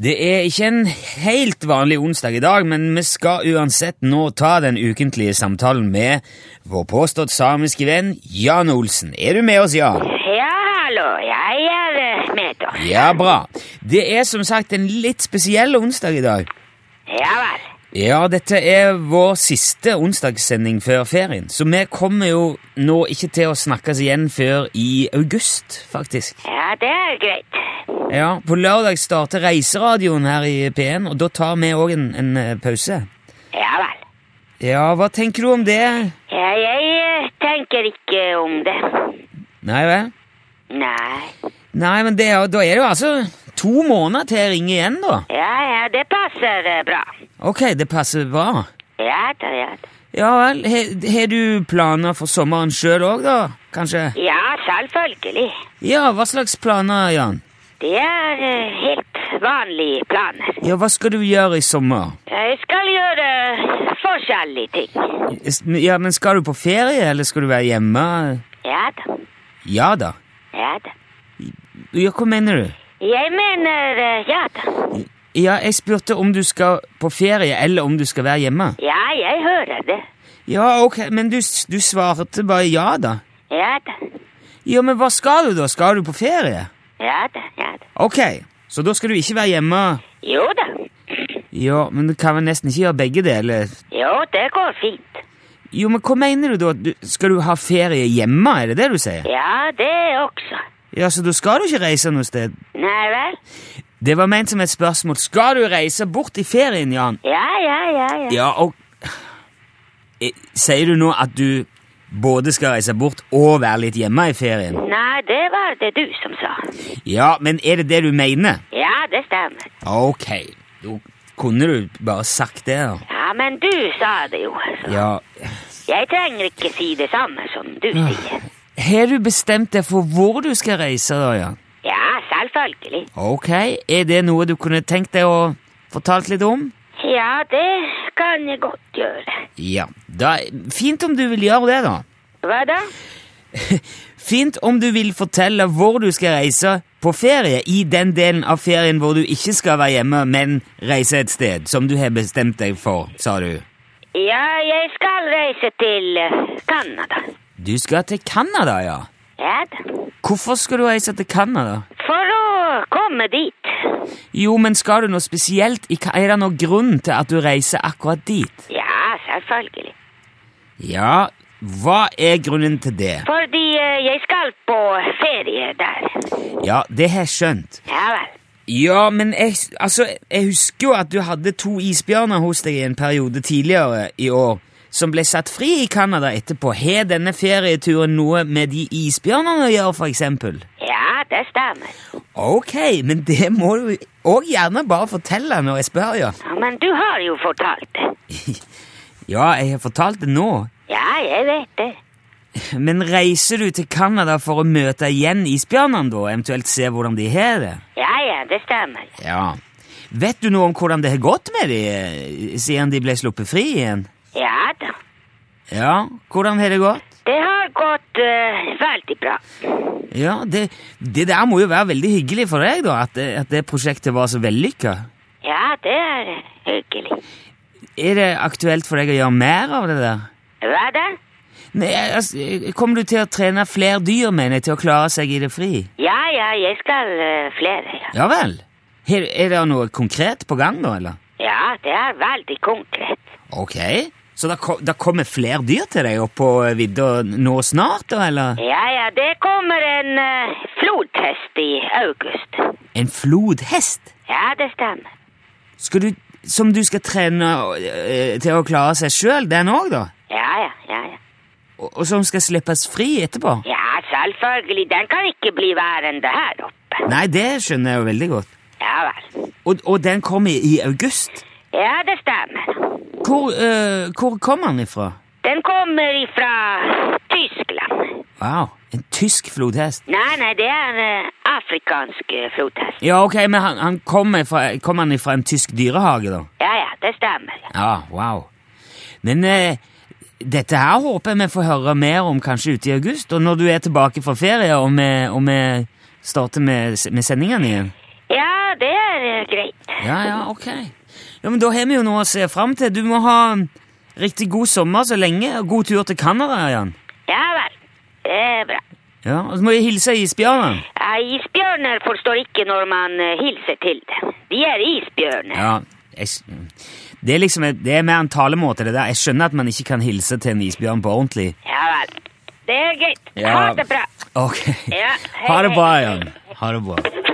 Det er ikke en helt vanlig onsdag i dag, men vi skal uansett nå ta den ukentlige samtalen med vår påstått samiske venn Jan Olsen. Er du med oss, Jan? Ja, hallo. Jeg er eh, med, da. Ja, bra. Det er som sagt en litt spesiell onsdag i dag. Ja vel. Ja, dette er vår siste onsdagssending før ferien, så vi kommer jo nå ikke til å snakkes igjen før i august, faktisk. Ja, det er greit. Ja, På lørdag starter Reiseradioen her i P1, og da tar vi òg en, en eh, pause. Ja vel. Ja, hva tenker du om det? Ja, jeg eh, tenker ikke om det. Nei vel? Nei. Nei, men det, er jo- da er det jo altså to måneder til jeg ringer igjen, da. Ja, ja, det passer eh, bra. Ok, det passer bra. Ja da, ja da. Ja vel, he- har du planer for sommeren sjøl òg, da? Kanskje? Ja, selvfølgelig. Ja, hva slags planer, Jan? Det er eh, helt vanlige planer. Ja, hva skal du gjøre i sommer? Jeg skal gjøre eh, forskjellige ting. S- Ja, men skal du på ferie, eller skal du være hjemme? Ja da. Ja da. Ja da. Ja, hva mener du? Jeg mener eh, ja da. Ja, jeg spurte om du skal på ferie, eller om du skal være hjemme. Ja, jeg hører det. Ja, ok, men du, s- du svarte bare ja, da. Ja da. Ja, men hva skal du da? Skal du på ferie? Ja da, ja da. Ok, så da skal du ikke være hjemme. Jo da. Ja, men du kan vel nesten ikke gjøre begge deler. Jo, det går fint. Jo, men hva mener du da? Du, skal du ha ferie hjemme, er det det du sier? Ja, det også. Ja, så da skal du ikke reise noe sted. Nei vel? Det var ment som et spørsmål. Skal du reise bort i ferien, Jan? Ja, ja, ja, ja. Ja, og... Eh, Sier du nå at du både skal reise bort og være litt hjemme i ferien? Nei, det var det du som sa. Ja, men er det det du mener? Ja, det stemmer. Ok, da kunne du bare sagt det da. Ja, men du sa det jo. Så. Ja, Jeg trenger ikke si det samme som du sier. Har du bestemt deg for hvor du skal reise, da, Jan? Ja, selvfølgelig. Ok, er det noe du kunne tenkt deg å fortalt litt om? Ja, det kan jeg godt gjøre. Ja, da, fint om du vil gjøre det, da. Hva da? Fint om du vil fortelle hvor du skal reise på ferie, i den delen av ferien hvor du ikke skal være hjemme, men reise et sted som du har bestemt deg for, sa du. Ja, jeg skal reise til eh, Canada. Du skal til Canada, ja. Ja da. Hvorfor skal du reise til Canada? For å komme dit. Jo, men skal du noe spesielt? i Ca- Er det noen grunn til at du reiser akkurat dit? Ja, selvfølgelig. Ja, hva er grunnen til det? Fordi eh, jeg skal på ferie der. Ja, det har jeg skjønt. Ja vel. Ja, men jeg, altså, jeg husker jo at du hadde to isbjørner hos deg i en periode tidligere i år, som ble satt fri i Canada etterpå. Har denne ferieturen noe med de isbjørnene å gjøre, for eksempel? Ja, det stemmer. Ok, men det må du òg gjerne bare fortelle når jeg spør, ja. Ja, Men du har jo fortalt det. Ja, jeg har fortalt det nå. Ja, jeg vet det. Men reiser du til Canada for å møte igjen isbjørnene, da? Eventuelt se hvordan de har det? Ja, ja, det stemmer. Ja. Vet du noe om hvordan det har gått med de eh, siden de ble sluppet fri igjen? Ja da. Ja, hvordan har det gått? Det har gått eh, veldig bra. Ja, det, det der må jo være veldig hyggelig for deg, da, at det, at det prosjektet var så vellykka. Ja, det er hyggelig. Er det aktuelt for deg å gjøre mer av det der? Hva da? Nei, altså, Kommer du til å trene flere dyr, mener jeg, til å klare seg i det fri? Ja, ja, jeg skal eh, flere. Ja. Ja vel. Er, er det noe konkret på gang, da, eller? ja, det er veldig konkret. Ok. Så det ko- det kommer flere dyr til deg opp på vidda nå snart, da, eller? Ja, ja, det kommer en uh, flodhest i august. En flodhest? Ja, det stemmer. Skal du, som du skal trene eh, til å klare seg sjøl, den òg, da? Ja, ja, ja, ja. og og som skal slippes fri etterpå? Ja, selvfølgelig. Den kan ikke bli værende her oppe. Nei, det skjønner jeg jo veldig godt. Ja vel. Og, og den kommer i august. Ja, det stemmer. Hvor, eh, hvor kommer den ifra? Den kommer ifra Tyskland. Wow, en tysk flodhest. Nei, nei, det er eh, afrikansk eh, flodhest. Ja, ok, men han, han kommer fra, kommer han ifra en tysk dyrehage, da? Ja, ja, det stemmer. Ja, wow. Men eh, dette her håper jeg vi får høre mer om kanskje ute i august, og når du er tilbake fra ferie, og vi, og vi starter med, med sendingen igjen. Ja, det er eh, greit. Ja, ja, ok. Ja, men Da har vi jo noe å se fram til. Du må ha riktig god sommer så lenge, og god tur til Canada, Jan. Ja vel. Det er bra. Ja, og Så må vi hilse isbjørnen. Ja, isbjørner forstår ikke når man eh, hilser til dem. De er isbjørner. Ja, jeg, s- det, er liksom, det er mer en talemåte, det der. Jeg skjønner at man ikke kan hilse til en isbjørn på ordentlig. Ja vel. Det er greit. Ja. Ha det bra. Ok. Ja, hei, Ha det bra, hei. Jan. Ha det bra.